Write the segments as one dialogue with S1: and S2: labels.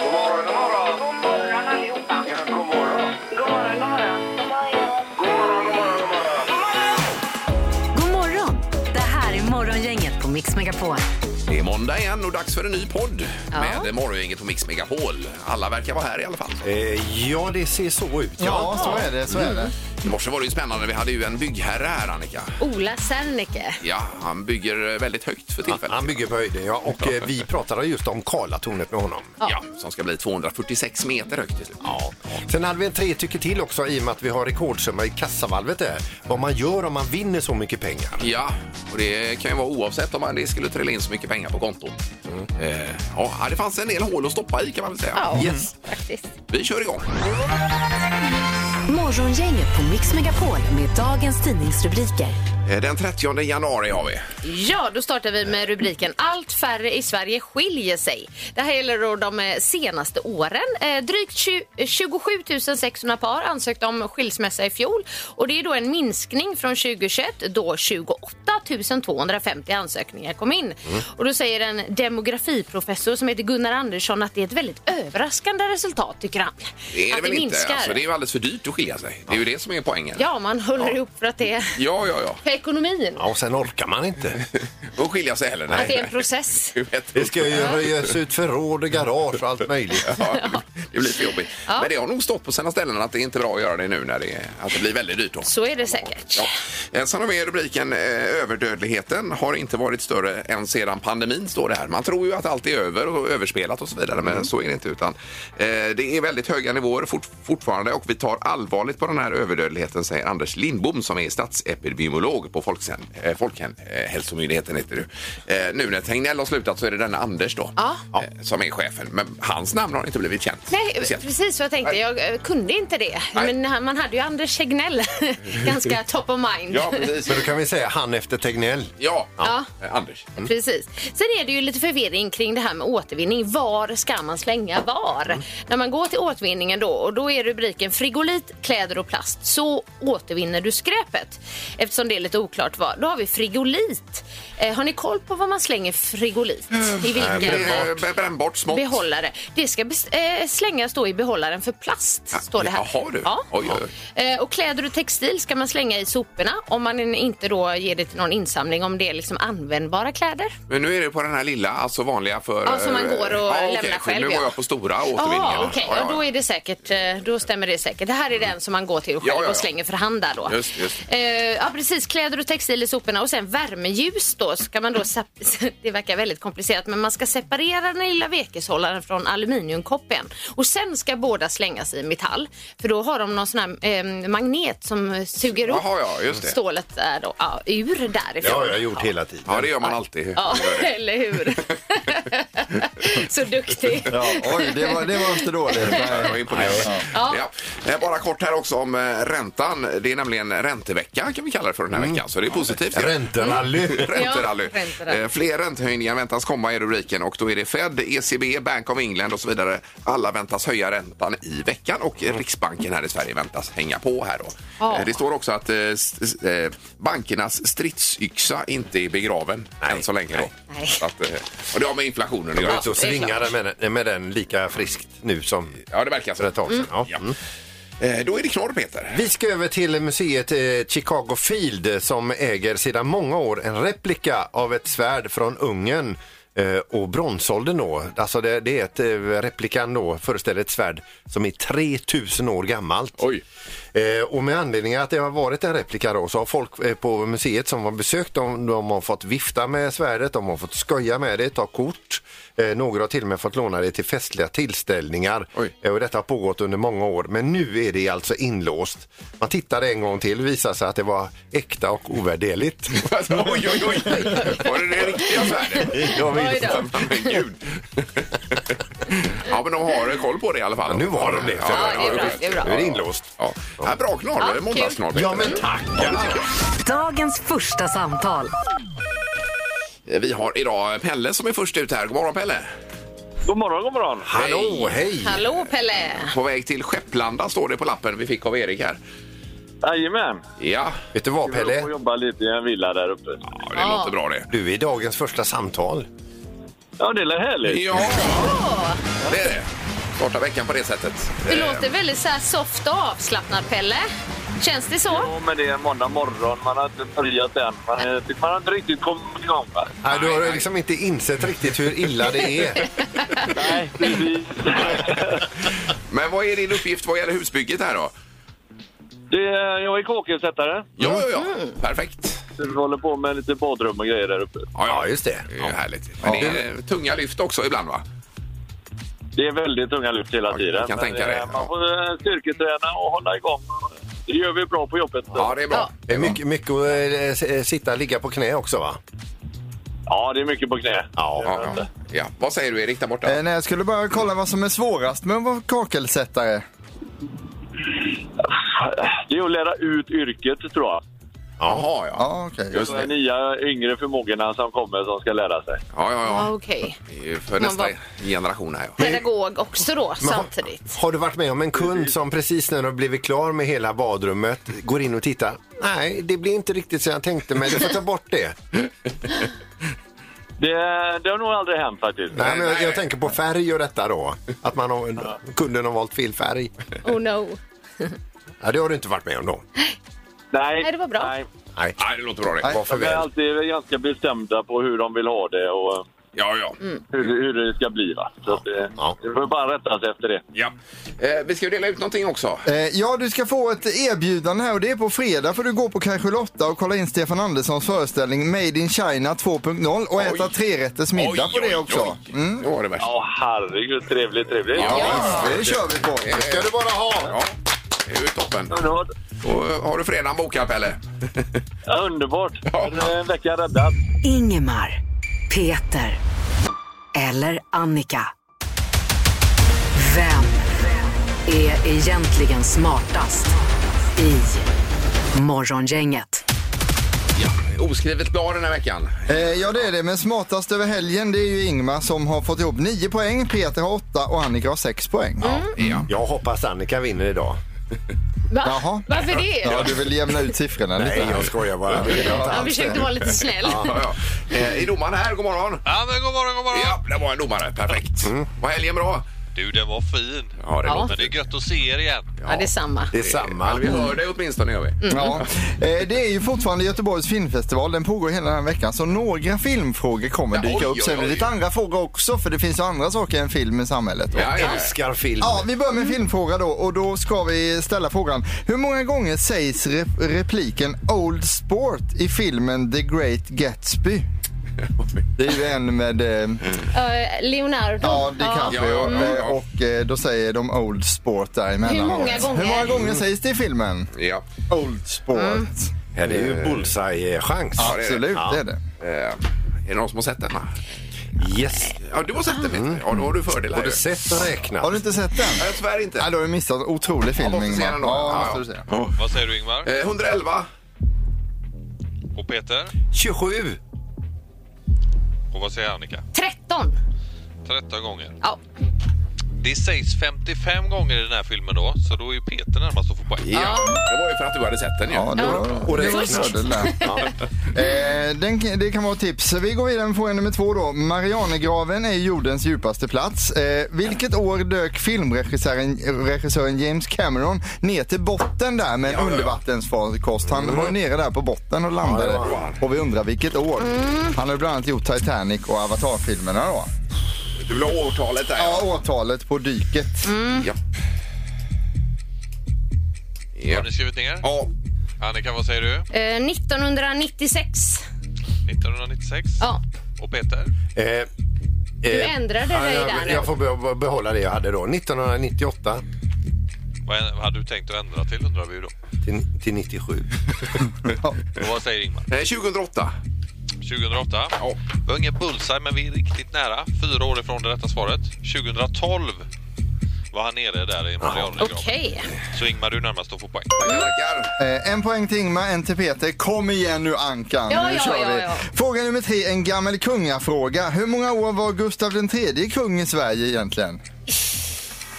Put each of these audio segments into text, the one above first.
S1: God morgon, god morgon.
S2: God morgon allihopa.
S1: Ja, god morgon.
S2: God morgon, god morgon.
S1: God morgon, god morgon,
S3: God
S1: god morgon.
S3: morgon! Det här är Morgongänget på Mix Megapol.
S4: Det är måndag igen och dags för en ny podd
S3: Ja.
S4: med Morgongänget på Mix Megapol. Alla verkar vara här i alla fall.
S5: Eh, ja, det ser så ut.
S6: Ja, så är det. Så är det.
S4: I morse var det ju spännande. Vi hade ju en byggherre här, Annika.
S3: Ola Serneke.
S4: Ja, han bygger eh, väldigt högt
S5: Han-
S4: för tillfället.
S5: Han bygger på höjden, ja. Och eh, vi pratade just om Karlatornet med honom.
S4: Ja, som ska bli 246 meter högt till slut. Ja.
S5: Sen hade vi en tre tycker till också i och med att vi har rekordsumma i kassavalvet där. Vad man gör om man vinner så mycket pengar.
S4: Ja, och det kan ju vara oavsett om man- det skulle trilla in så mycket pengar på kontot.
S5: Mm.
S4: Eh, ja, det fanns en del hål att stoppa i kan man väl säga.
S5: Yes.
S3: faktiskt.
S4: Vi kör igång.
S3: Morgongänget på Mix Megapol med dagens tidningsrubriker.
S4: Eh, Den 30 januari har vi.
S7: Ja, då startar vi med rubriken Allt färre i Sverige skiljer sig. Det här gäller då de eh, senaste åren. Eh, Drygt tju- eh, 27 600 par ansökte om skilsmässa i fjol och det är då en minskning från 2021 då 28 250 ansökningar kom in. Och då säger en demografiprofessor som heter Gunnar Andersson att det är ett väldigt överraskande resultat tycker han.
S4: Det är
S7: att
S4: det väl inte? Alltså, det är ju alldeles för dyrt att skilja sig. Det är ju det som är poängen.
S7: Ja, man håller ihop för att det är
S4: ja, ja. ja.
S7: för ekonomin.
S5: Ja, och sen orkar man inte.
S4: Och skilja sig heller.
S7: Att det är en process.
S4: Det är bättre.
S5: Det ska ju röjas ut förråd och garage och allt möjligt.
S4: Ja, det blir för jobbigt.
S7: Ja.
S4: Men det har nog stått på sina ställen att det är inte är bra att göra det nu när det, är- att det blir väldigt dyrt. Då.
S7: Så är det säkert.
S4: Ja. Eh, Sen har vi rubriken eh, överdödligheten har inte varit större än sedan pandemin står det här. Man tror ju att allt är över och överspelat och så vidare men så är det inte utan eh, det är väldigt höga nivåer fort, fortfarande och vi tar allvarligt på den här överdödligheten säger Anders Lindbom som är statsepidemiolog på Folksen, eh, Folkhälsomyndigheten heter det. ju. Eh, nu när Tegnell har slutat så är det denna Anders då
S7: Ja.
S4: eh, som är chefen men hans namn har inte blivit känt.
S7: Nej,
S4: speciellt.
S7: precis vad jag tänkte.
S4: Nej.
S7: Jag eh, kunde inte det.
S4: Nej.
S7: Men han- man hade ju Anders Tegnell ganska top of mind.
S4: Ja, precis.
S5: Men då kan vi säga han efter Tegnell.
S4: Ja,
S7: Ja.
S4: Eh, Anders.
S7: Precis. Sen är det ju lite förvirring kring det här med återvinning. Var ska man slänga var?
S4: Mm.
S7: När man går till återvinningen då, och då är rubriken frigolit, kläder och plast. Så återvinner du skräpet. Eftersom det är lite oklart vad. Då har vi frigolit. Eh, har ni koll på vad man slänger frigolit? I vilken?
S4: Mm. Det är eh, brännbart smått.
S7: Behållare. Det ska bes- eh, slängas då i behållaren för plast.
S4: Ja,
S7: står det här.
S4: jaha du.
S7: Ja.
S4: Oj, oj,
S7: Eh, och kläder och textil ska man slänga i soporna om man inte då ger det till någon insamling om det är liksom användbara kläder.
S4: Men nu är det på den här lilla, alltså vanliga för... eh,
S7: Ja, som man går och
S4: okej,
S7: lämnar
S4: för
S7: själv,
S4: Nu
S7: ja.
S4: var jag på stora återvinningen.
S7: Ja, Ah, okej.
S4: Ja, Mm.
S7: Ja, då är det säkert, eh, då stämmer det säkert. Det här är den som man går till själv
S4: Ja, ja, ja.
S7: och slänger för hand där då.
S4: Just, just.
S7: Eh, ja, precis. Kläder och textil i soporna och sen värmeljus då ska man då, sep- det verkar väldigt komplicerat, men man ska separera den lilla vekeshållaren från aluminiumkoppen och sen ska båda slängas i metall för då har de någon sån här eh, magnet som suger upp
S4: Jaha, ja, just det.
S7: stålet där då, ja, ur
S5: Det
S7: därifrån.
S5: har jag gjort hela tiden.
S4: Ja, det gör man alltid.
S7: Ja, eller hur? Så duktig.
S6: Ja, oj, det var, det var inte dåligt.
S4: Jag är imponerad. Ja. Eh, Bara kort här också om eh, räntan. Det är nämligen räntevecka kan vi kalla det för den här veckan. Så det är positivt.
S5: Ränterally.
S4: Ränterally.
S7: Ja, ränterally.
S4: Eh, Fler räntehöjningar väntas komma i rubriken och då är det Fed, ECB, Bank of England och så vidare. Alla väntas höja räntan i veckan och Riksbanken här i Sverige väntas hänga på här då.
S7: Ja.
S4: Eh, Det står också att eh, s- s- eh, bankernas stridsyxa inte är begraven än så länge då.
S7: Nej.
S4: Så att, eh, och det har med inflationen att
S5: Jag
S4: göra.
S5: går ut och svingar med, den- med den lika friskt nu som
S4: Ja, det verkar så.
S5: för ett tag sedan. Ja.
S4: Ja.
S6: Mm.
S4: Eh, Då är det knorr, Peter.
S5: Vi ska över till museet eh, Chicago Field eh, som äger sedan många år en replika av ett svärd från Ungern eh, och bronsåldern då. Alltså det, det är ett, eh, replikan då föreställer ett svärd som är 3000 år gammalt.
S4: Oj.
S5: Eh, och med anledning av att det har varit en replika då så har folk eh, på museet som har besökt de, de har fått vifta med svärdet, de har fått skoja med det, ta kort. Eh, några har till och med fått låna det till festliga tillställningar.
S4: Oj.
S5: Eh, och detta har pågått under många år men nu är det alltså inlåst. Man tittade en gång till, visade sig att det var äkta och ovärderligt.
S4: Oj, oj, oj! Var det det riktiga svärdet?
S5: Jag vill-
S7: Oj då.
S4: Men gud. ja, men de har koll på det i alla fall.
S5: Ja, nu har de det.
S7: Ja, det är bra,
S4: visst.
S7: det är bra.
S5: Nu är det inlåst.
S4: Ja. Ja, bra knorr,
S7: Ja,
S4: måndagsknorr.
S5: Ja men tack!
S3: Dagens första samtal.
S4: Eh, Vi har idag Pelle som är först ut här. God morgon Pelle!
S1: God morgon, god morgon.
S5: Hallå, hej!
S7: Hallå Pelle!
S4: På väg till Skepplanda står det på lappen vi fick av Erik här.
S1: Jajamän.
S4: Ja,
S5: Vet du vad
S1: Jag får
S5: Pelle?
S1: jobba lite i en villa där uppe.
S4: ja det låter bra det.
S5: Du är dagens första samtal.
S1: Ja, det är härligt.
S4: Ja, det är det. Starta veckan på det sättet.
S7: Det
S4: Eh,
S7: låter väldigt så här soft och avslappnad, Pelle. Känns det så?
S1: Ja, men det är måndag morgon. Man har inte börjat än. Man, är, man har inte riktigt kommit igång. Va?
S5: Nej, du har liksom inte insett riktigt hur illa det är.
S1: Nej, precis.
S4: Men vad är din uppgift vad gäller husbygget här då?
S1: Det är, jag är kåkersättare.
S4: Ja, ja, ja.
S7: Mm.
S4: Perfekt.
S1: Vi håller på med lite badrum och grejer där uppe.
S4: Ja, ja.
S5: just det.
S4: Det är ju härligt. Men det är eh, tunga lyft också ibland va?
S1: Det är väldigt tunga lyft hela
S4: Ja,
S1: tiden.
S4: jag kan
S1: men,
S4: tänka det,
S1: eh,
S4: ja.
S1: Man får eh, styrketräna och hålla igång. Det gör vi bra på jobbet.
S4: Ja, det är bra.
S5: Det är mycket, mycket att eh, s- eh, sitta, ligga på knä också va?
S1: Ja, det är mycket på knä.
S5: Ja,
S4: Ja, ja. ja. Vad säger du Erik där borta?
S6: Eh, nej, jag skulle bara kolla vad som är svårast med att vara kakelsättare.
S1: Det är att lära ut yrket, tror jag.
S4: Jaha, ja.
S6: Ja, okej.
S4: Just
S1: De
S4: det.
S1: nya yngre förmågorna som kommer som ska lära sig.
S4: Ja, ja,
S7: Ja,
S4: ja.
S7: Okej.
S4: Det är ju för
S7: Man
S4: nästa
S7: var-
S4: generation här. ja.
S7: Pedagog också då,
S5: Men har-
S7: samtidigt.
S5: Har du varit med om en kund som precis när de blivit klar med hela badrummet går in och tittar? Nej, det blir inte riktigt som jag tänkte men du får ta bort det.
S1: Det, det har nog aldrig hänt faktiskt.
S5: Nej, men jag,
S4: nej.
S5: jag tänker på färg och detta då. Att man har, kunden har valt fel färg.
S7: Oh no.
S5: Ja, det har du inte varit med om då?
S1: Nej,
S7: Nej, det var bra.
S1: Nej.
S5: Nej,
S4: Nej, det låter bra det.
S6: Nej.
S5: var för
S1: De är
S5: väl.
S1: alltid ganska bestämda på hur de vill ha det och
S4: Ja, ja.
S8: Mm.
S1: hur, hur det ska bli. Va? Så att det,
S5: Ja.
S1: det får bara rätta sig efter det.
S4: ja. Eh, vi ska ju dela ut någonting också.
S6: Eh, ja, du ska få ett erbjudande här och det är på fredag för du går på kanske Lotta och kollar in Stefan Anderssons föreställning Made in China 2.0 och
S4: Oj.
S6: äta trerätters middag på det också.
S4: Oj, Det var det värsta.
S1: Ja, herregud. Trevligt, trevligt.
S6: Det kör vi på.
S5: Det ska du bara ha!
S4: Ja, det är ju toppen.
S1: Underbart.
S4: Och, eh, har du fredagen bokad, Pelle?
S1: Ja, underbart.
S4: Ja.
S1: En eh, vecka räddad.
S3: Ingemar, Peter eller Annika. Vem är egentligen smartast i Morgongänget?
S4: Ja. Oskrivet blad den här veckan.
S6: Eh, ja, det är det. Men smartast över helgen det är ju Ingmar som har fått ihop 9 poäng, Peter har 8 och Annika har 6 poäng.
S4: Ja.
S5: Jag hoppas Annika vinner idag.
S7: Va?
S6: Jaha.
S7: Varför det?
S6: Ja, du vill jämna ut siffrorna lite. här.
S5: skojar bara. Det är inte
S7: Jag
S5: alls
S7: försökte
S5: det.
S7: vara lite snäll.
S4: Ja, ja. Eh, Är domaren här? God morgon!
S9: Ja, men god morgon, god morgon.
S4: Ja, det var en domare. Perfekt. Var helgen bra?
S9: Du, den var fin.
S4: Ja, det
S7: Ja.
S4: låter
S9: Men det är gött att se er igen.
S7: Ja, det är samma.
S5: Det är samma.
S4: Eller vi hör dig åtminstone, gör vi.
S6: Ja. Eh, Det är ju fortfarande Göteborgs filmfestival. Den pågår hela den här veckan. Så några filmfrågor kommer
S4: Ja,
S6: dyka
S4: oj,
S6: upp. Sen
S4: oj, oj.
S6: lite andra frågor också. För det finns ju andra saker än film i samhället. Ja.
S4: Ja, ja.
S5: Älskar film.
S6: vi börjar med en filmfråga då och då ska vi ställa frågan. Hur många gånger sägs rep- repliken Old Sport i filmen The Great Gatsby? Det är ju en med eh,
S7: Eh, Leonardo.
S6: ja, DiCaprio
S4: Ja, ja, ja, ja.
S6: eh, och eh, då säger de Old Sport däremellan.
S7: Hur många gånger? Mm.
S6: Hur många gånger sägs det i filmen?
S4: ja.
S6: Old Sport.
S5: Här är ju bullseye-chans.
S6: Absolut, det är det.
S4: Eh, Är det någon som har sett den? va?
S5: Yes.
S4: Ja, du har sett den, vet du. Ja, då har du fördelar
S5: Har du
S4: ju.
S5: sett och
S6: Har
S5: räknat?
S6: du inte sett den?
S4: Nej, tyvärr inte.
S6: Ja, då har du missat en otrolig film,
S4: måste se
S6: Ingmar.
S4: den då. Ja,
S6: Ja, måste
S4: ja.
S6: du se.
S9: Vad säger du, Ingmar?
S4: Eh, 111. Eh.
S9: Och Peter?
S5: 27.
S9: Och vad säger Annika?
S7: 13.
S9: 13 gånger.
S7: Ja.
S9: Det sägs 55 gånger i den här filmen då, så då är ju Peter närmast att få poäng.
S4: Ja. Det var ju för att du hade sett den ju.
S6: Ja, det var,
S5: Och
S6: det var en
S5: räknat.
S6: fördel där. Eh, den, det kan vara ett tips. Vi går vidare med fråga nummer två då. Marianergraven är jordens djupaste plats. Eh, vilket år dök filmregissören regissören James Cameron ner till botten där med en
S4: Ja, ja, ja.
S6: undervattensfarkost? Han var ju nere där på botten och landade.
S5: Ja, det var
S6: och vi undrar vilket år. Han har ju bland annat gjort Titanic och Avatar-filmerna då.
S4: Du vill ha årtalet där. Mm.
S6: Ja, årtalet på dyket.
S9: Har
S4: Japp. Japp.
S9: ni skrivit ner?
S4: Ja.
S9: Annika, vad säger du?
S7: Eh, 1996.
S9: 1996?
S7: Ja.
S9: Och Peter?
S5: Eh,
S7: Du ändrade dig där nu.
S5: Jag får be- behålla det jag hade då. 1998
S9: Vad vad hade du tänkt att ändra till undrar vi ju då.
S5: till, till 97.
S9: Och vad säger Ingmar?
S4: Eh, 2008.
S9: 2008?
S4: Ja.
S9: Vi har ingen bullseye, men vi är riktigt nära. Fyra år ifrån det rätta svaret. 2012 var han nere där i Marianergraven.
S7: Okej.
S9: Så Ingmar, du är närmast att få poäng.
S4: Tackar.
S6: Eh, En poäng till Ingmar, en till Peter. Kom igen nu Ankan.
S7: Ja,
S6: nu
S7: ja,
S6: kör
S7: ja,
S6: vi.
S7: ja.
S6: Fråga nummer tre, en gammal kungafråga. Hur många år var Gustav III kung i Sverige egentligen?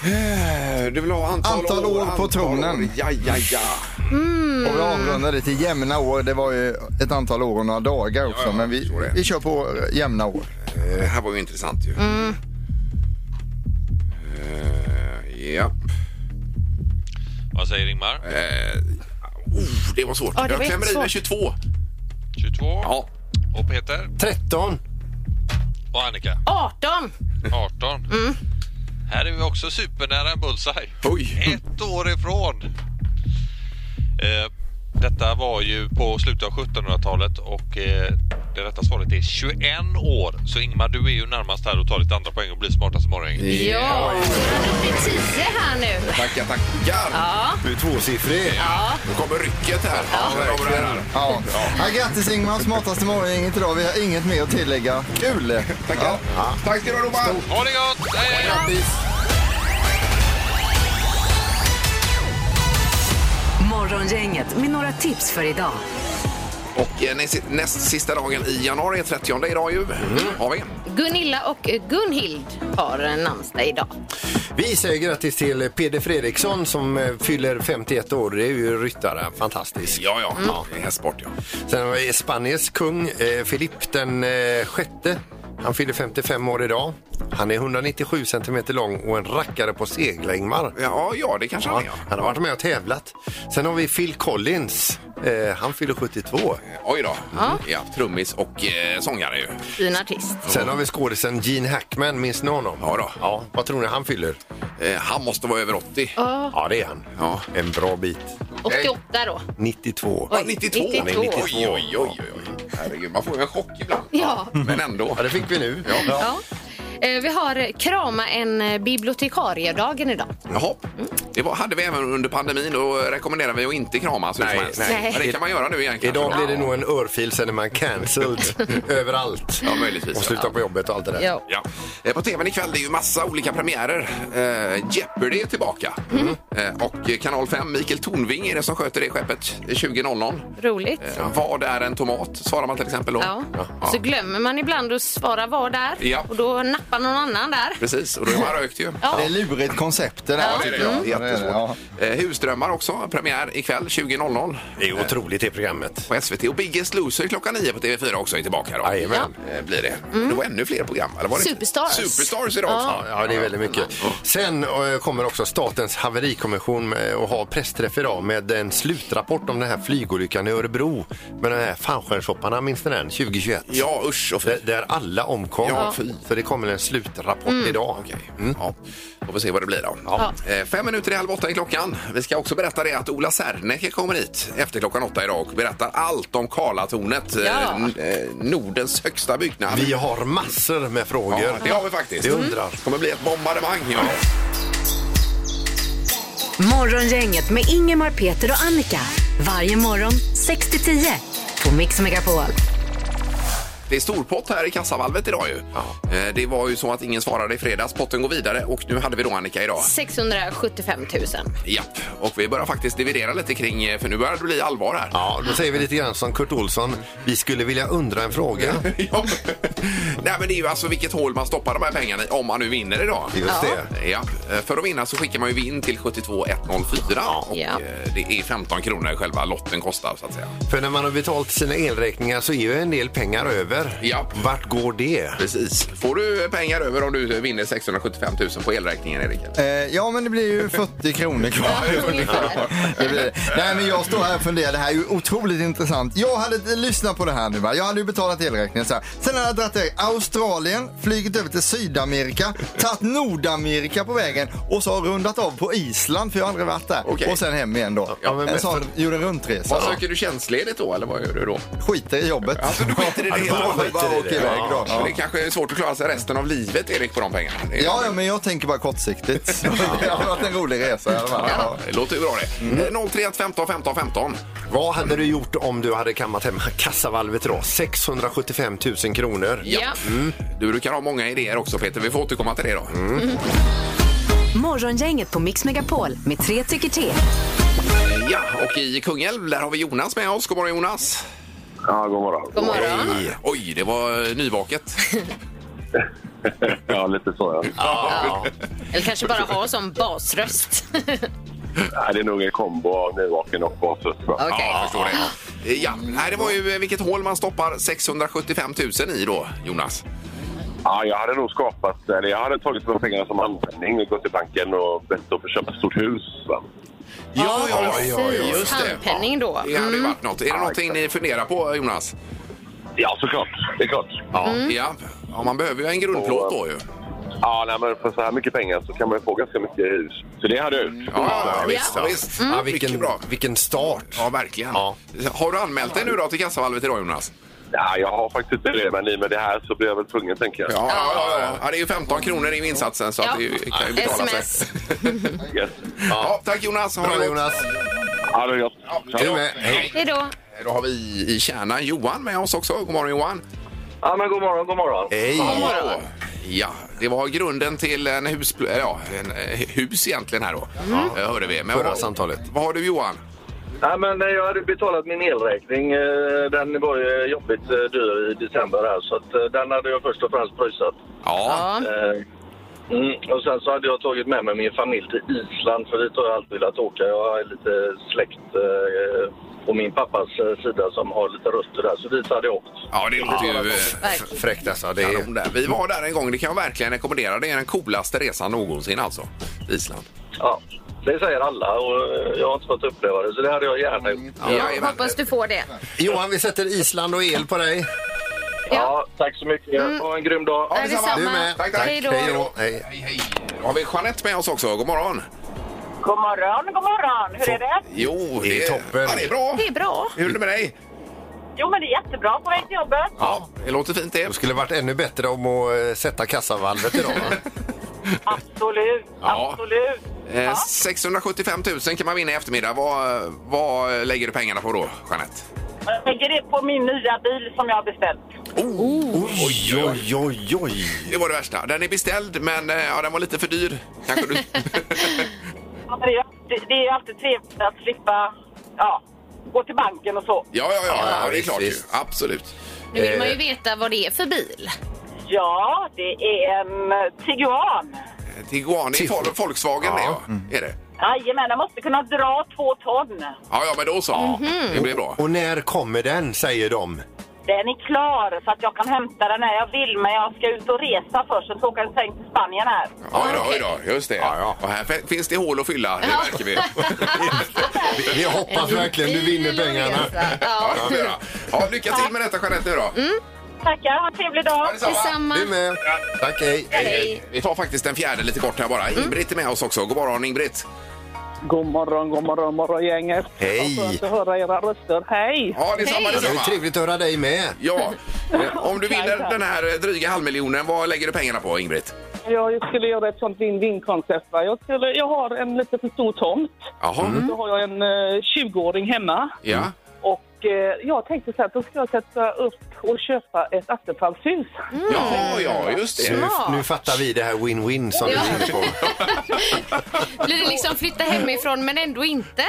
S4: Eh, Du vill ha antal,
S6: Antal år på
S4: antal
S6: tronen.
S4: år. Ja, ja, ja.
S7: Mm.
S6: Och vi avrundade till jämna år. Det var ju ett antal år och några dagar också.
S4: Ja, ja,
S6: men
S4: jag
S6: vi,
S4: förstår det.
S6: vi kör på jämna år.
S4: Eh, Det här var ju intressant ju. Eh, Japp.
S9: Vad säger Ingmar?
S4: Eh, oh, det var svårt.
S7: Ja, det var
S4: jag klämmer i med
S7: jättesvårt.
S4: 22.
S9: 22.
S4: Ja.
S9: Och Peter?
S5: 13.
S9: Och Annika?
S7: 18.
S9: 18.
S7: Mm.
S9: Här är vi också supernära en bullseye.
S4: Oj.
S9: Ett år ifrån. Eh, detta var ju på slutet av 1700-talet och eh, det rätta svaret är 21 år. Så Ingmar, du är ju närmast här och tar ditt andra poäng och blir smartast i
S10: Mm.
S9: morgon.
S7: Ja, han är uppe i 10 här nu.
S4: Tackar, tackar.
S5: Du är tvåsiffrig.
S4: Nu kommer rycket här. Ja,
S5: verkligen.
S4: verkligen.
S6: Ja. Ja, grattis Ingmar, smartaste morgongänget idag. Vi har inget mer att tillägga. Kul!
S4: Tackar. Tack ska du ha, Robban.
S9: Ha det gott! Hej, hej!
S3: Morgongänget med några tips för idag.
S4: Och eh, näst, näst sista dagen i januari, 30 idag ju, har vi.
S7: Gunilla och Gunhild har namnsdag idag.
S5: Vi säger grattis till Peder Fredriksson som eh, fyller 51 år. Det är ju ryttare. Fantastisk.
S4: Ja, ja. ja det är hästsport, ja.
S5: Sen har vi Spaniens kung, eh, Filipp den eh, sjätte. Han fyller 55 år idag. Han är 197 centimeter lång och en rackare på segla, Ingmar.
S4: Ja, ja, det kanske han är.
S5: Han har varit med och tävlat. Sen har vi Phil Collins. Eh, han fyller 72.
S4: ja. Oj då. Ja, trummis och eh, sångare ju.
S7: Fin artist.
S5: Sen har vi skådisen Gene Hackman. Minns ni honom?
S4: Ja då.
S5: Ja, vad tror ni han fyller?
S4: Eh, han måste vara över 80.
S5: Ja, det är han.
S4: Ja.
S5: En bra bit.
S7: 88 då.
S5: 92.
S4: Ja, 92.
S7: 92.
S4: Han är 92. Oj, oj, oj, oj. Herregud, man får ju en chock ibland.
S7: Ja.
S4: Men ändå.
S5: Ja, det fick vi nu.
S7: Ja. Eh, Vi har eh, krama en eh, bibliotekariedagen idag.
S4: Jaha. Det var, hade vi även under pandemin. Då rekommenderar vi att inte kramas hur
S5: Nej,
S4: som helst.
S5: nej.
S7: Nej.
S4: Men det kan man göra nu igen kanske.
S5: Idag blir det nog en örfil, sen är man cancelled överallt.
S4: Ja, möjligtvis.
S5: Och sluta på jobbet och allt det där.
S7: Ja.
S4: Ja. Eh, På tvn ikväll det är ju massa olika premiärer. Eh, Jeopardy är tillbaka.
S5: Mm.
S4: Eh, och eh, Kanal 5, Mikael Tornving är det som sköter det skeppet eh, 20.00.
S7: Roligt.
S4: Eh, vad är en tomat? Svarar man till exempel då.
S7: Ja.
S4: Ja.
S7: Så glömmer man ibland att svara var där
S4: Ja.
S7: och då nappar någon annan där.
S4: Precis, och då är man rökt ju.
S7: Ja. Mm.
S6: Det är lurigt koncept det där.
S4: Ja, det är det.
S6: tycker jag.
S4: Ja,
S6: det är det, ja.
S4: jättesvårt. Eh, Husdrömmar också, premiär ikväll 20.00
S5: Det är otroligt det programmet.
S4: på SVT. Och Biggest Loser klockan 9 på TV4 också är tillbaka då.
S5: Jajamän.
S4: Eh, Blir det. Det var ännu fler program. Eller var det? inte?
S7: Superstars.
S4: Superstars idag också.
S5: Ja, ja, det är väldigt mycket. Sen eh, kommer också Statens haverikommission med- att ha pressträff idag med en slutrapport om den här flygolyckan i Örebro med de här fallskärmshopparna, minns ni den? 2021.
S4: Ja, usch och
S5: Där,
S4: fy.
S5: där alla omkom.
S4: Ja, fy.
S5: Så det kommer en slutrapport idag.
S4: Okej. Ja, får vi se vad det blir då.
S5: mm. Ja.
S4: Eh, Fem minuter i halv åtta i klockan. Vi ska också berätta det att Ola Serneke kommer hit efter klockan åtta idag och berättar allt om Karlatornet, eh,
S7: Ja.
S4: n- eh, Nordens högsta byggnad.
S5: Vi har massor med frågor.
S4: ja, det har vi faktiskt.
S5: Vi undrar.
S4: Det kommer bli ett bombardemang. Ja.
S3: Morgongänget med Ingemar, Peter och Annika. Varje morgon 6 till 10 på Mix Megapol.
S4: Det är storpott här i kassavalvet idag ju. Eh, Det var ju så att ingen svarade i fredags. Potten går vidare och nu hade vi då Annika idag.
S7: 675 000.
S4: Japp. Och vi börjar faktiskt dividera lite kring, eh, för nu börjar det bli allvar här.
S5: Ja, då säger vi lite grann som Kurt Olsson. Vi skulle vilja undra en fråga.
S4: Ja. Nej men det är ju alltså vilket hål man stoppar de här pengarna i om man nu vinner idag.
S5: Just det.
S4: Ja, eh, för att vinna så skickar man ju vin till 72104 och
S7: Ja.
S4: eh, det är 15 kronor själva lotten kostar så att säga.
S5: För när man har betalt sina elräkningar så är ju en del pengar över.
S4: Ja.
S5: Vart går det?
S4: Precis. Får du pengar över om du vinner 675 000 på elräkningen Erik?
S6: Eh, Ja, men det blir ju 40 kronor kvar.
S7: Ungefär.
S6: Det blir det. Nej, men jag står här och funderar. Det här är ju otroligt intressant. Jag hade lyssnat på det här nu. Va? Jag hade ju betalat elräkningen. Så här. Sen hade jag dragit iväg Australien, flugit över till Sydamerika, tagit Nordamerika på vägen och så har rundat av på Island, för jag har aldrig varit där.
S4: Okej.
S6: Och sen hem igen då.
S5: Ja, men-
S6: en sån gjorde en runtresa.
S4: Vad söker du tjänstledigt då eller vad gör du då?
S6: Skiter i jobbet.
S4: Alltså du skiter i det
S5: Ja,
S4: hela?
S5: bara
S6: Bara
S5: skiter i
S6: åker
S5: det.
S6: iväg då.
S4: Men Det kanske är svårt att klara sig resten av livet Erik på de pengarna. Det är-
S6: Ja, ja, men jag tänker bara kortsiktigt. Det har varit en rolig resa i alla fall. Ja.
S4: Ja, det låter ju bra det. Mm. 031 15 15 15.
S5: Vad hade du gjort om du hade kammat hem kassavalvet idag? 675 000 kronor.
S7: Ja.
S4: Du brukar ha många idéer också Peter, vi får återkomma till det då.
S3: Morgongänget på Mix Megapol med tre tycker till.
S4: Ja, och i Kungälv där har vi Jonas med oss. God morgon Jonas!
S1: Ja, god morgon.
S7: God morgon.
S4: Hej. Oj, det var eh, nyvaket.
S1: Ja, lite så ja.
S7: Eller kanske bara ha som basröst.
S1: Nej, Det är nog en kombo av nyvaken och basröst.
S7: Okej.
S4: Jag förstår det. Eh, Ja, nej, det var ju eh, vilket hål man stoppar 675 000 i då, Jonas.
S10: Ja, jag hade nog skapat, eller jag hade tagit de pengarna som användning och gått till banken och bett att få köpa ett stort hus. Va?
S4: Ja, ja, ja,
S7: precis.
S4: ja, ja Mm. just det.
S7: Handpenning då.
S4: Det hade ju varit något. Är det någonting ni funderar på, Jonas?
S10: Ja, såklart. Det är klart.
S4: Ja. ja. ja man behöver ju en grundplåt då ju.
S10: Ja, nej, men för så här mycket pengar så kan man ju få ganska mycket hus. Så det hade jag gjort.
S4: Ja, visst.
S5: Ja.
S4: Ja, Mm. visst.
S5: Ja,
S4: Mycket
S5: vilken,
S4: bra.
S5: vilken start.
S4: Ja, verkligen.
S5: Ja.
S4: Har du anmält dig nu då till kassavalvet idag, Jonas?
S10: Ja, jag har faktiskt inte det, men i och med det här så blir jag väl tvungen, tänker jag.
S4: Ja, ja, ja, ja. ja det är ju 15 kronor i insatsen så att det ju- kan ju betala sig.
S7: Sms.
S10: Yes.
S4: Ja, tack Jonas. Ha det
S5: Bra
S4: gott.
S5: Jonas.
S10: Ja, det är gott.
S5: Är du med? Hej.
S7: Hej då.
S4: Då har vi i kärnan Johan med oss också. God morgon Johan.
S10: Ja, men god morgon, god morgon.
S5: Hej.
S4: Ja. Ja, det var grunden till en hus, ja, en eh, hus egentligen här då. Eh, Hörde vi. Men
S5: Förra
S4: vad,
S5: samtalet.
S4: vad har du Johan?
S10: Nej, men eh, jag hade betalat min elräkning. Eh, Den var ju jobbigt eh, dyr i december här, så att eh, den hade jag först och främst pröjsat.
S4: Ja.
S7: Ja.
S10: Eh, Mm, och sen så hade jag tagit med mig min familj till Island, för dit har jag alltid velat åka. Jag har lite släkt eh, på min pappas eh, sida som har lite rötter där, så dit hade jag åkt.
S4: Ja, det låter ju... eh,
S7: Verkligen.
S5: Fräckt alltså. Det är...
S4: kanon där. Vi var där en gång, det kan jag verkligen rekommendera. Det är den coolaste resan någonsin alltså. Island.
S10: Ja, det säger alla och eh, jag har inte fått uppleva det, så det hade jag gärna gjort.
S7: Jag
S4: Jajamän.
S7: hoppas du får det.
S5: Johan, vi sätter Island och el på dig.
S10: Ja, tack så mycket. Ha en grym dag.
S4: Ja,
S7: Är
S4: detsamma.
S5: Du
S7: detsamma.
S5: med.
S4: Tack, tack.
S7: Hej då.
S5: Hej då. Hej.
S4: Hej, hej. Då har vi Jeanette med oss också. God morgon.
S2: God morgon, god morgon. Hur är det?
S4: Jo,
S5: Det är toppen.
S4: Ja, det är bra.
S7: Det är bra.
S4: Hur är det med dig?
S2: Jo, men det är jättebra på väg till jobbet.
S4: Ja, det låter fint det.
S5: Det skulle varit ännu bättre om att eh, sätta kassavalvet idag. va?
S2: Absolut,
S4: Ja.
S2: absolut.
S4: Eh, 675 000 kan man vinna i eftermiddag. Vad, vad lägger du pengarna på då, Jeanette?
S2: Jag lägger det på min nya bil som jag har beställt.
S5: Oj, oj, oj, oj.
S4: Det var det värsta. Den är beställd, men eh, ja, den var lite för dyr. Kanske du...
S2: Ja, men Det är, det, det är ju alltid trevligt att slippa ja, gå till banken och så.
S4: Ja, ja, ja, ja, det är
S5: visst,
S4: klart ju.
S5: visst.
S4: Absolut.
S7: Nu vill
S4: Eh.
S7: man ju veta vad det är för bil.
S2: Ja, det är en eh, Tiguan.
S4: Eh, Tiguan, det är Vol- Volkswagen det, ja.
S5: Mm.
S4: Är det?
S2: Jajamän, den måste kunna dra två ton.
S4: Ja, ja, men då så. Det blir bra.
S5: Och när kommer den, säger de.
S2: Den är klar så att jag kan hämta den när jag vill, men jag ska ut och resa först. Sen ska jag åka en sväng till Spanien här.
S4: Ja, då, ja, då, just det.
S5: Ja, ja.
S4: Och här fin- finns det hål att fylla, det märker vi.
S5: Vi- Vi hoppas verkligen du vinner pengarna.
S4: Ja,
S7: Ja.
S4: det får vi göra. ja, lycka till med detta, Jeanette, nu då.
S2: Tackar, ha en trevlig dag.
S4: Ja, detsamma.
S7: Detsamma.
S5: Du med. Tack, hej.
S7: Hej.
S4: Vi tar faktiskt den fjärde lite kort här bara. Ingbritt är med oss också. God morgon, Ingbritt.
S11: God morgon, god morgon, morgongänget.
S5: Hej.
S11: Vad skönt att höra era röster. Hej!
S4: Ja, detsamma,
S7: Hej.
S5: Det var
S4: detsamma.
S5: trevligt att höra dig med.
S4: Ja, Eh, om du vinner den här eh, dryga halvmiljonen, vad lägger du pengarna på, Ingbritt?
S11: Jag skulle göra ett sånt vinn-vinn-koncept. va. Jag, skulle, jag har en lite för stor tomt.
S4: Jaha.
S2: Mm.
S11: Då har jag en eh, 20-åring hemma.
S4: Ja.
S11: Och eh, jag tänkte så här, då ska jag sätta upp och köpa ett attefallshus.
S4: ja, ja, just det.
S5: Nu,
S7: Smart.
S5: nu fattar vi det här win-win som du
S7: Ja.
S5: är inne på.
S7: Blir det liksom flytta hemifrån men ändå inte?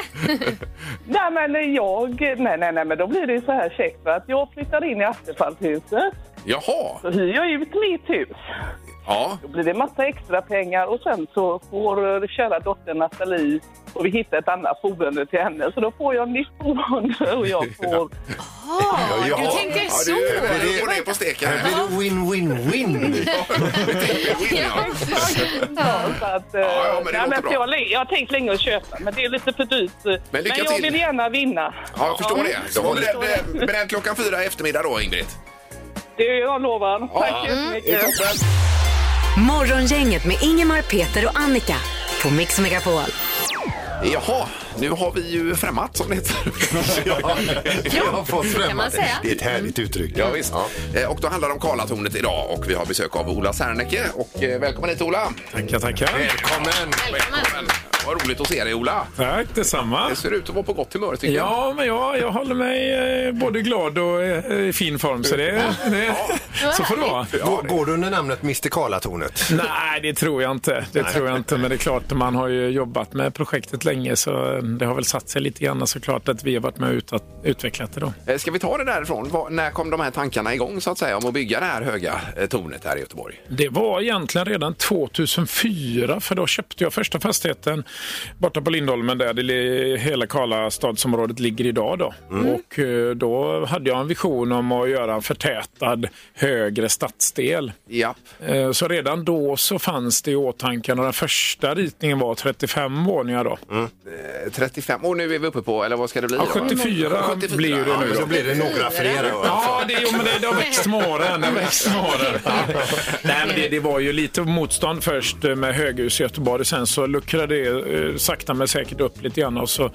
S11: Nej, men jag... Nej, nej, nej, men då blir det ju så här käckt va, att jag flyttar in i attefallshuset.
S4: Jaha.
S11: Så hyr jag ut mitt hus.
S4: Ja.
S11: Då blir det massa extra pengar och sen så får eh, kära dottern Nathalie och vi hittar ett annat boende till henne. Så då får jag nytt boende och jag får...
S7: Ja,
S5: ja.
S7: du tänker
S4: ja
S7: så.
S4: du
S5: Men
S4: du
S5: det-
S4: går ner på steken.
S5: Här blir det win-win-win.
S4: Ja.
S7: Ja.
S11: Så att, eh,
S4: Ja, ja, men det
S11: nej,
S4: låter
S11: men
S4: bra.
S11: jag, har lä- jag har tänkt länge att köpa, men det är lite för dyrt. Men,
S4: lycka
S11: jag
S4: till.
S11: vill gärna vinna.
S4: Ja, jag förstår det. Så var berätt, berätt klockan fyra i eftermiddag då, Ingrid.
S11: Det är jag lovar. Tack så
S4: Det är
S11: mycket.
S4: toppen.
S3: Morgongänget med Ingemar, Peter och Annika på Mix Megapol.
S4: Jaha, nu har vi ju främmat som det heter.
S5: Jag har fått
S7: kan man
S5: främmande.
S7: säga.
S5: Det är ett härligt uttryck.
S4: Ja, visst. Eh, Och då handlar det om Karlatornet idag och vi har besök av Ola Serneke. Och eh, välkommen hit Ola!
S8: Tackar, tackar.
S5: Välkommen!
S7: Välkommen.
S4: Vad roligt att se dig Ola!
S8: Tack detsamma.
S4: Det ser ut att vara på gott humör tycker jag.
S8: Ja, men jag, jag håller mig eh, både glad och eh, i fin form, så det, det så får det vara.
S5: Går, går du under namnet Mr Karlatornet?
S8: Nej, det tror jag inte. Det tror jag inte. Men det är klart, man har ju jobbat med projektet länge så eh, det har väl satt sig lite grann såklart att vi har varit med och utat, utvecklat det då.
S4: Eh, Ska vi ta det därifrån? Var, när kom de här tankarna igång så att säga om att bygga det här höga eh, tornet här i Göteborg?
S8: Det var egentligen redan 2004 för då köpte jag första fastigheten borta på Lindholmen där det li- hela Karlastadsområdet ligger idag. Då.
S4: Mm.
S8: Och eh, då hade jag en vision om att göra en förtätad högre stadsdel.
S4: Ja.
S8: Eh, Så redan då så fanns det i åtanke och den första ritningen var 35 våningar då.
S4: Eh, 35 och nu är vi uppe på, eller vad ska det bli?
S8: Ja,
S4: då?
S8: 74 blir det
S4: ja,
S8: nu
S4: men
S8: då.
S4: då blir det nog.
S5: några fler. då.
S8: Ja, det, jo, men det, det har växt med åren. Det, har växt med åren. Nej, men det, det var ju lite motstånd först eh, med höghus i Göteborg. Sen så luckrade det eh, sakta men säkert upp lite grann. Och så, eh,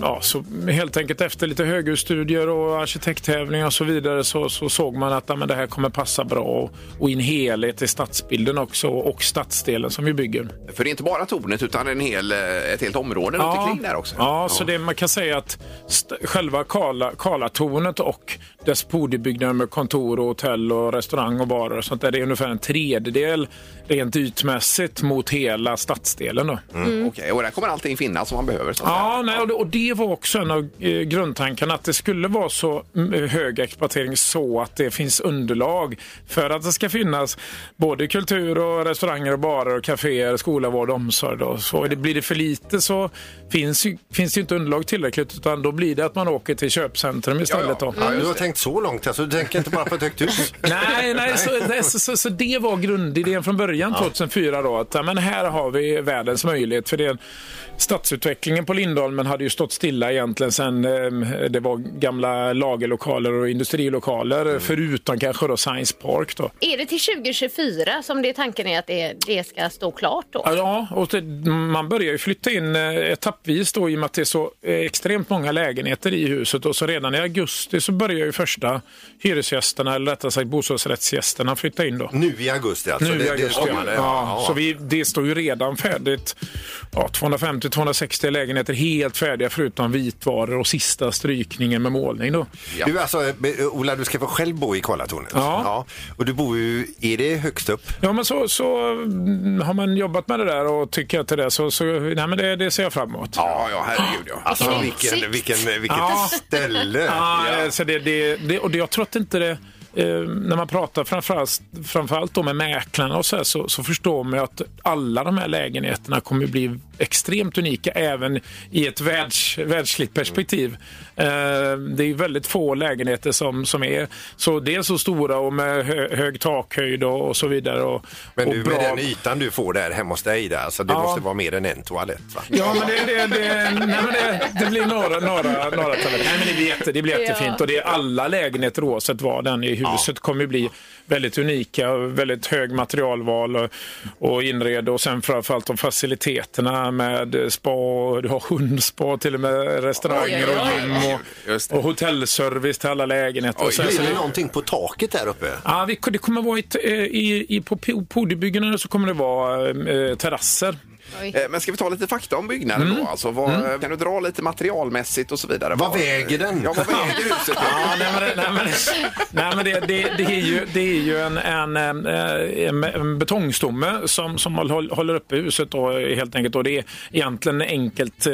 S8: ja, så helt enkelt efter lite höghusstudier och arkitekttävlingar och så vidare så, så såg man att ja, men det här kommer passa bra och, och i en helhet i stadsbilden också och stadsdelen som vi bygger.
S4: För det är inte bara tornet utan en hel, eh, ett helt område runt omkring där också.
S8: Ja, så det, man kan säga att st- själva Karla- Karlatornet och dess podiebyggnader med kontor, och hotell, och restaurang och barer och sånt där, det är ungefär en tredjedel rent ytmässigt mot hela stadsdelen. Då.
S4: Mm. Okej, och där kommer allting finnas som man behöver. sånt där.
S8: Ja, nej, och, det, och det var också en av eh, grundtankarna att det skulle vara så mm, hög exploatering så att det finns underlag för att det ska finnas både kultur och restauranger och barer och kaféer, skola, vård och omsorg. Då. Så det, blir det för lite så finns, ju- finns det inte underlag tillräckligt utan då blir det att man åker till köpcentrum istället. Då.
S5: Ja, du har tänkt så långt alltså. Du tänker inte bara på ett högt hus.
S8: Nej, nej så, nej, så, så, så det var grundidén från början 2004 då. Att, ja, men här har vi världens möjlighet. För det, stadsutvecklingen på Lindholmen hade ju stått stilla egentligen sen eh, det var gamla lagerlokaler och industrilokaler. Förutom kanske då Science Park då.
S7: Är det till 2024 som det är tanken är att det, det ska stå klart då?
S8: Ja, och det, man börjar ju flytta in eh, etappvis då i och med att det är så eh, extremt många lägenheter i huset och så redan i augusti så börjar ju första hyresgästerna, eller rättare sagt bostadsrättsgästerna flytta in då.
S5: Nu i augusti alltså.
S8: Nu i
S5: det, det är
S8: augusti. ja.
S5: kommande.
S8: Ja, så vi, det står ju redan färdigt. Ja, 250-260 lägenheter helt färdiga förutom vitvaror och sista strykningen med målning. Då.
S4: Ja.
S5: Du, alltså, eh, Ola, du ska få själv bo i Karlatornet.
S8: Ja.
S5: Och du bor ju, är det högst upp?
S8: Ja, men så, så mm, har man jobbat med det där och tycker att det där så, så nej, men det, det ser jag fram emot.
S4: Ja, ja, herregud ja.
S5: Alltså
S7: Vilken
S5: vilken,
S7: utsikt.
S5: vilken, vilket
S8: Ja.
S5: ställe!
S8: Ja, eh, Så det, det, det, och det, jag tror att inte det Eh, när man pratar framförallt, framförallt då med mäklarna och så, här, så, så förstår man ju att alla de här lägenheterna kommer bli extremt unika även i ett världs, världsligt perspektiv. Eh, det är väldigt få lägenheter som, som är så, dels så stora och med hö, hög takhöjd och, och så vidare. Och,
S5: Men
S8: och
S5: du, med
S8: bra-
S5: den ytan du får där hemma hos dig, där, alltså, det
S8: Ja.
S5: måste vara mer än en toalett. Va?
S8: Ja, men det, det, det, nej, men det, det blir några, några, några tabletter. Nej, men det blir, jätte, det blir jättefint. Och det är alla lägenheter oavsett vad den i huset kommer ju bli väldigt unika. Väldigt hög materialval och, och inred och sen framförallt de faciliteterna med spa, och du har hundspa till och med restauranger
S7: Oj, oj,
S8: och
S7: oj.
S8: gym
S4: Just det.
S8: och, och hotellservice till alla lägenheter. Och så, här.
S5: Blir
S8: så
S5: det
S8: det,
S5: någonting på taket där uppe?
S8: Ja, vi, det kommer vara ett, eh, i, i, på podiebyggnaderna så kommer det vara eh, terrasser.
S4: Eh, Men ska vi ta lite fakta om byggnaden
S8: Mm.
S4: då? Alltså, vad, Kan du dra lite materialmässigt och så vidare?
S5: Vad väger den?
S4: Ja, vad väger huset?
S8: Ja, nej, men, det- nej, men, nej, men det, det, det är ju, det är ju en, en, en, eh, en betongstomme som, som håll- håller uppe huset då, helt enkelt. Och det är egentligen enkelt eh,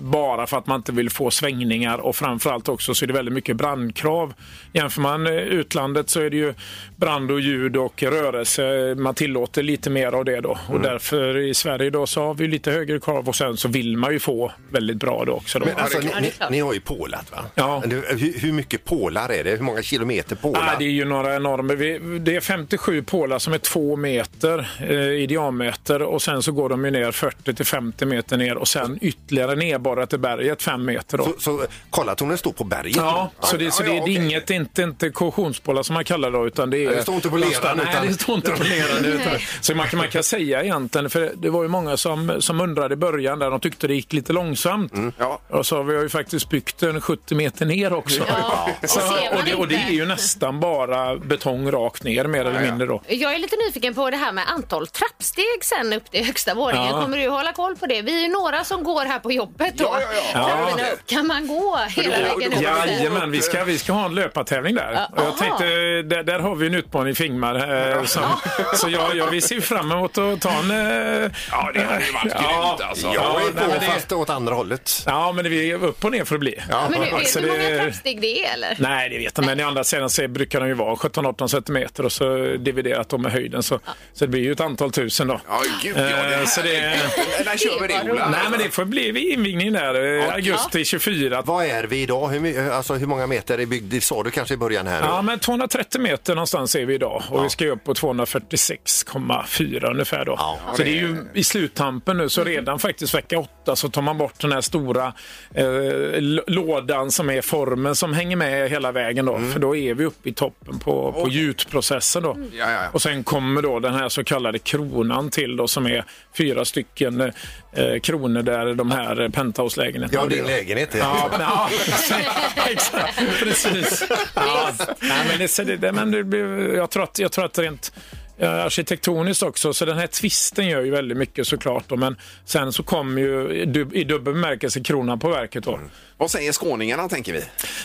S8: bara för att man inte vill få svängningar och framförallt också så är det väldigt mycket brandkrav. Jämför man eh, utlandet så är det ju brand och ljud och rörelse. Man tillåter lite mer av det då. Och därför i Sverige då så har vi lite högre krav och sen så vill man ju få väldigt bra då också. Då.
S5: Men alltså, ni,
S7: klart.
S5: ni, ni har ju pålat va?
S8: Ja.
S5: Men du, Hur, hur mycket pålar är det? Hur många kilometer pålar?
S8: Nej, det är ju några enorma. Vi, det är 57 pålar som är två meter eh, i diameter och sen så går de ju ner 40 till 50 meter ner och sen ytterligare ner bara till berget 5 meter. Då.
S5: Så, så Karlatornet står på berget?
S8: Ja, så det, så
S4: ja,
S8: det,
S4: ja,
S8: det är
S4: okej.
S8: inget, inte, inte korrosionspålar som man kallar det utan det är...
S5: Nej, det står inte på leran,
S8: Nej,
S5: utan-
S8: det står inte på leran. Utan, så man, kan- man kan säga egentligen, för det var ju många som, som undrade i början där, de tyckte det gick lite långsamt.
S4: Mm. Ja.
S8: Och så har vi ju faktiskt byggt en 70 meter ner också.
S7: Ja, det
S8: Så,
S7: ser man
S8: och, det, och det
S7: inte.
S8: är ju nästan bara betong rakt ner mer eller mindre då.
S7: Jag är lite nyfiken på det här med antal trappsteg sen upp till högsta våningen.
S8: Ja.
S7: Kommer du hålla koll på det? Vi är ju några som går här på jobbet då.
S4: Ja, ja, ja.
S7: Trapporna
S4: Ja.
S7: upp. Kan man gå hela
S4: då-
S7: vägen
S4: då-
S7: upp?
S4: Ja,
S8: Jajamän, vi ska, vi ska ha en löpartävling där. Och jag
S7: aha.
S8: tänkte, där, där har vi en utmaning Fingmar. Eh, som, så jag, jag, vi ser fram emot att ta en eh,
S4: Ja, det hade ju varit
S8: Ja.
S4: grymt alltså.
S5: Jag är
S8: nej,
S5: på
S8: men det-
S5: fast åt andra hållet.
S8: Ja, men vi är upp och ner för att bli.
S7: Men du, vet
S8: Så
S7: du hur många
S8: det-
S7: trappsteg det är eller?
S8: Nej, det vet jag Men i andra sidan så brukar de ju vara 17-18 centimeter och så dividerat om med höjden så, så det blir ju ett antal tusen då.
S4: Ja, gud ja. Det
S8: Eh,
S4: här
S8: så det-
S4: är... När kör vi det, Ola?
S8: Nej, men det får bli vid invigningen där, eh, augusti 24.
S5: Vad är vi idag? Hur, my- alltså, hur många meter är byggd? Det sa du kanske i början här. nu.
S8: Ja, men 230 meter någonstans är vi idag och vi ska ju upp på 246,4 ungefär då. så det är ju i sluttampen nu, så redan faktiskt vecka 8 så tar man bort den här stora eh, l- lådan som är formen som hänger med hela vägen då, för då är vi uppe i toppen på, på gjutprocessen då.
S4: Ja, ja, ja.
S8: Och sen kommer då den här så kallade kronan till då som är fyra stycken eh, kronor där de här eh, penthouse-lägenheterna
S5: Ja, din lägenhet. är-
S8: Ja, men, ja exakt. Precis. Ja. Nej, men det, så det, det- men det blir, jag, tror att, jag tror att rent eh, arkitektoniskt också, så den här tvisten gör ju väldigt mycket såklart. Då, men sen så kommer ju i dub- i dubbel bemärkelse kronan på verket. Då.
S4: Vad säger skåningarna, tänker vi?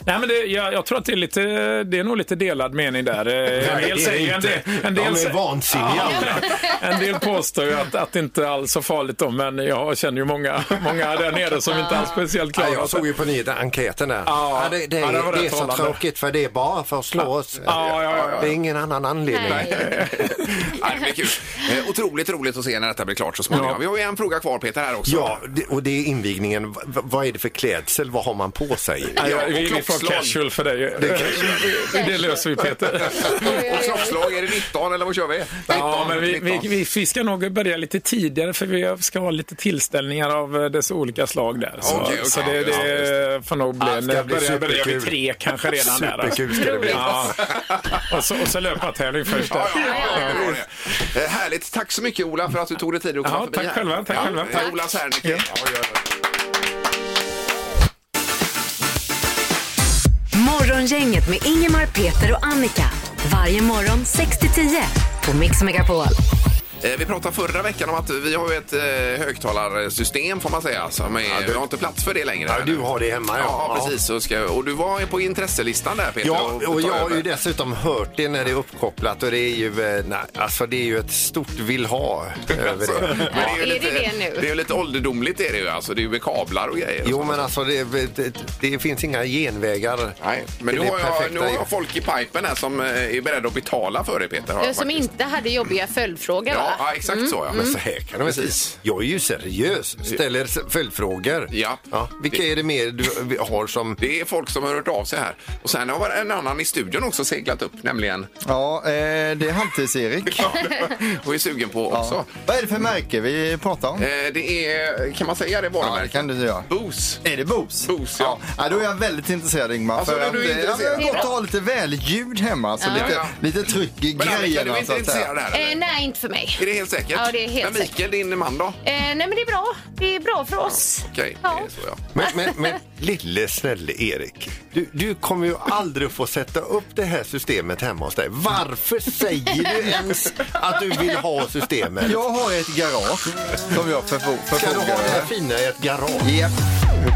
S8: Nej, men det, jag, jag tror att det är, lite, det är nog lite delad mening där. Eh, En
S5: Nej,
S8: del
S5: det är
S8: säger ju- en
S5: inte.
S8: del, en
S5: De
S8: del,
S5: är
S8: sä-
S5: vansinniga.
S8: en del påstår ju att, att det inte alls är så farligt då, men jag känner ju många, många där nere som inte alls är speciellt
S5: Ja,
S8: klara.
S5: jag såg ju på nyheterna, enkäten där.
S8: Ja.
S5: det, det,
S8: Ja, det
S5: är,
S8: var
S5: det är
S8: rätt
S5: så
S8: talande.
S5: tråkigt för det är bara för att slå oss.
S8: Ja, ja, ja, ja.
S5: Det är ingen annan anledning.
S7: Nej.
S4: Ja, det blir kul. Eh, Otroligt roligt att se när detta blir klart så småningom.
S8: Ja.
S4: Vi har ju en fråga kvar, Peter, här också.
S5: Ja, det, och det är invigningen. V- v- vad är det för klädsel? Vad har man på sig?
S8: Ja,
S4: Ja, och
S8: vi, vi får
S4: klockslag.
S8: casual för dig. Det, det löser vi Peter.
S4: Och klockslag, är det 19 eller vad kör vi? 19,
S8: Ja, men vi,
S4: 19.
S8: vi, vi, vi ska nog börja lite tidigare för vi ska ha lite tillställningar av eh, dess olika slag där. Eh, Så,
S4: Okej, okej,
S8: så det,
S4: just det, just
S8: det får nog bli...
S5: Ja, det ska
S8: Ja,
S5: bli
S8: börja, börja vid
S5: superkul.
S8: tre kanske redan där. alltså.
S5: Superkul ska det bli.
S8: Ja. Och så, och så löpartävling först där.
S4: Ja, ja, ja, det var det. Eh, Härligt. Tack så mycket, Ola, för att du tog dig tid att komma
S8: Ja,
S4: förbi
S8: tack
S4: här.
S8: själva, tack själva.
S4: eh,
S8: Tack.
S4: Ola Serneke. Ja. Ja,
S3: Morgongänget med Ingemar, Peter och Annika. Varje morgon 6-10 på Mix Megapol.
S4: ja. Eh, Vi pratade förra veckan om att vi har ju ett eh, högtalarsystem, får man säga. Som är, Vi har inte plats för det längre.
S5: Ja, du har det hemma, ja.
S4: Ja, precis. Så ska, och du var på intresselistan där, Peter.
S5: Ja,
S4: ta
S5: och jag har
S4: över.
S5: ju dessutom hört det när det är uppkopplat och det är ju, eh, nej, alltså det är ju ett stort vill ha över det.
S4: Men är, ju
S7: Är det
S4: lite,
S7: det nu?
S4: är ju lite ålderdomligt är det ju. Alltså, det är ju med kablar och grejer. och
S5: Jo,
S4: sånt.
S5: men alltså det, det, det finns inga genvägar.
S4: Nej, men
S5: till
S4: nu
S5: det
S4: har, jag, nu
S5: perfekta.
S4: har jag folk i pipen här som eh, är beredda att betala för det, Peter. har jag
S7: Jag som
S4: faktiskt.
S7: inte Mm. hade jobbiga följdfrågor
S4: Ja,
S7: va?
S4: ja, exakt så. Ja.
S5: Men så här kan de inte.
S4: Precis.
S5: Jag är ju seriös, ställer s- följdfrågor.
S4: Ja.
S5: Vilka är det mer du vi har som...
S4: Det är folk som har hört av sig här. Och sen har en annan i studion också seglat upp, nämligen.
S6: Ja, eh, det är halvtids-Erik.
S4: Och är sugen på också.
S6: Vad är det för märke vi pratar om?
S4: Eh, Det är, kan man säga det
S6: Ja, det
S4: varumärket?
S6: kan du göra.
S4: Boos.
S6: Är det Bose?
S4: Bose, ja.
S6: ja. Då är jag väldigt intresserad Ingmar.
S4: Alltså,
S6: för
S4: är
S6: att,
S4: du
S6: eh,
S4: intresserad?
S6: Ja, men gott att ha lite välljud hemma. Så lite,
S4: ja.
S6: lite tryck i
S4: Men Annika, du är
S6: grejerna
S4: inte
S6: så att
S4: intresserad
S6: säga.
S4: av det här?
S7: Eh,
S4: eller?
S7: nej, inte för mig.
S4: Är det helt säkert?
S7: Ja, det är helt
S4: Men Mikael, din man då?
S7: Eh, nej, men det är bra. Det är bra för oss.
S4: Okej,
S7: Ja.
S4: det är så ja.
S5: Men, men, men lille snälle Erik, du, du kommer ju aldrig få sätta upp det här systemet hemma hos dig. Varför säger du ens att du vill ha systemet?
S6: Jag har ett garage som jag förfo-
S5: Ska du ha det
S6: förfogar
S5: här
S6: över.
S5: fina i ett garage?
S6: Japp.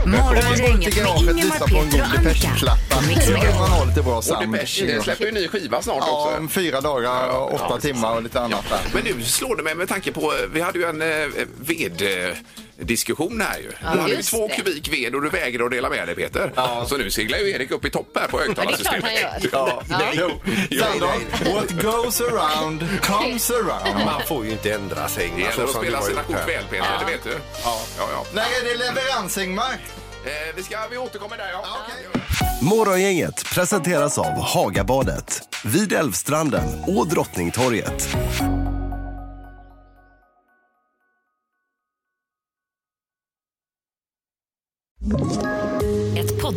S3: Morgongänget med Ingemar, Peter och Annika. På Mix
S6: Då kan man
S3: Megapol.
S6: ha lite bra
S4: Och
S6: sound.
S4: Depeche eh, släpper ju en ny skiva snart
S6: Ja,
S4: också.
S6: om fyra dagar, och åtta timmar och lite annat där.
S4: Men nu slår det mig med tanke på, eh, vi hade ju en eh, ved eh, diskussion här ju. Du hade ju
S7: just
S4: två
S7: det.
S4: kubik ved och du vägrade att dela med dig Peter. Så nu seglar ju Erik upp i topp här på
S7: Ja, det är klart han
S4: högtalarsystemet.
S7: gör.
S6: Ja. Jo. Sandholm, what goes around comes around.
S5: Man får ju inte ändra sig. Alltså,
S4: Det
S5: Ingmar,
S4: gäller
S5: så
S4: att
S5: som
S4: spela
S5: du har
S4: sina
S5: gjort
S4: kort
S5: här.
S4: väl Peter, det vet du. Ja. Ja,
S6: När är det leverans Ingmar?
S4: Eh, vi, ska, vi återkommer där ja.
S12: Morgongänget presenteras av Hagabadet, vid Älvstranden och Drottningtorget.
S3: Ett